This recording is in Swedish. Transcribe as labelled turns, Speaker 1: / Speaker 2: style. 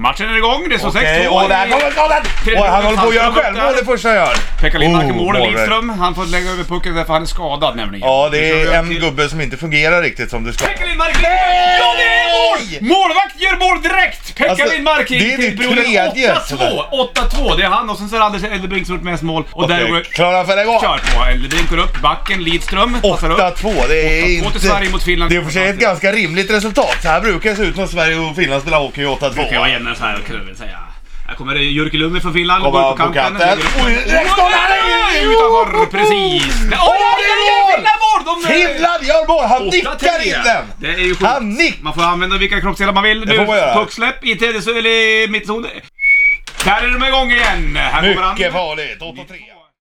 Speaker 1: Matchen är igång, det står 6-2
Speaker 2: Okej, åh där kommer skottet!
Speaker 1: Tredje
Speaker 2: Oj, han
Speaker 1: minuten,
Speaker 2: håller på att
Speaker 1: Sandström
Speaker 2: göra självmål
Speaker 1: där.
Speaker 2: det första han gör.
Speaker 1: Pekka Lindmark i mål,
Speaker 2: målvakt.
Speaker 1: Lidström. Han får lägga över pucken därför han är skadad nämligen.
Speaker 2: Ja, det
Speaker 1: Nu kör vi
Speaker 2: är
Speaker 1: upp
Speaker 2: en
Speaker 1: till-
Speaker 2: gubbe som inte fungerar riktigt som du ska.
Speaker 1: Pekka Lindmark! Ja, det är mål! Målvakt gör mål direkt! Pekka
Speaker 2: Alltså,
Speaker 1: Lindmark
Speaker 2: det är
Speaker 1: gick till
Speaker 2: ditt
Speaker 1: perioden
Speaker 2: tredje,
Speaker 1: 8-2. 8-2, det är han och sen så är det Anders Eldebrink som har gjort mest mål. Och där
Speaker 2: Okej,
Speaker 1: går...
Speaker 2: Klara Ferrego.
Speaker 1: Kört på. Eldebrink går upp, backen, Lidström passar upp.
Speaker 2: 8-2, det är
Speaker 1: 8-2
Speaker 2: inte...
Speaker 1: till Sverige mot Finland.
Speaker 2: Det är i och för sig ett ganska rimligt resultat. Så här brukar det se ut när Sverige och Finland spelar hockey i 8-2.
Speaker 1: Det kan vara jämnare så här kan jag väl säga. Här kommer det Jyrki Lummi från Finland.
Speaker 2: Kommer
Speaker 1: går
Speaker 2: han
Speaker 1: upp på kanten.
Speaker 2: Oj, direkt står han här!
Speaker 1: Utanför, precis! Nej, Oj,
Speaker 2: Åh,
Speaker 1: det
Speaker 2: det
Speaker 1: är
Speaker 2: är mål!
Speaker 1: Finland mål! De-
Speaker 2: Finland gör mål! Han
Speaker 1: Åtta,
Speaker 2: nickar
Speaker 1: tre.
Speaker 2: in den!
Speaker 1: Det är ju sjukt.
Speaker 2: Han nick...
Speaker 1: Man får använda vilka kroppsdelar man vill.
Speaker 2: får man göra.
Speaker 1: Pucksläpp i tredje zon- eller i mittzon. Där är de igång igen. Här kommer han.
Speaker 2: Mycket farligt. 8-3.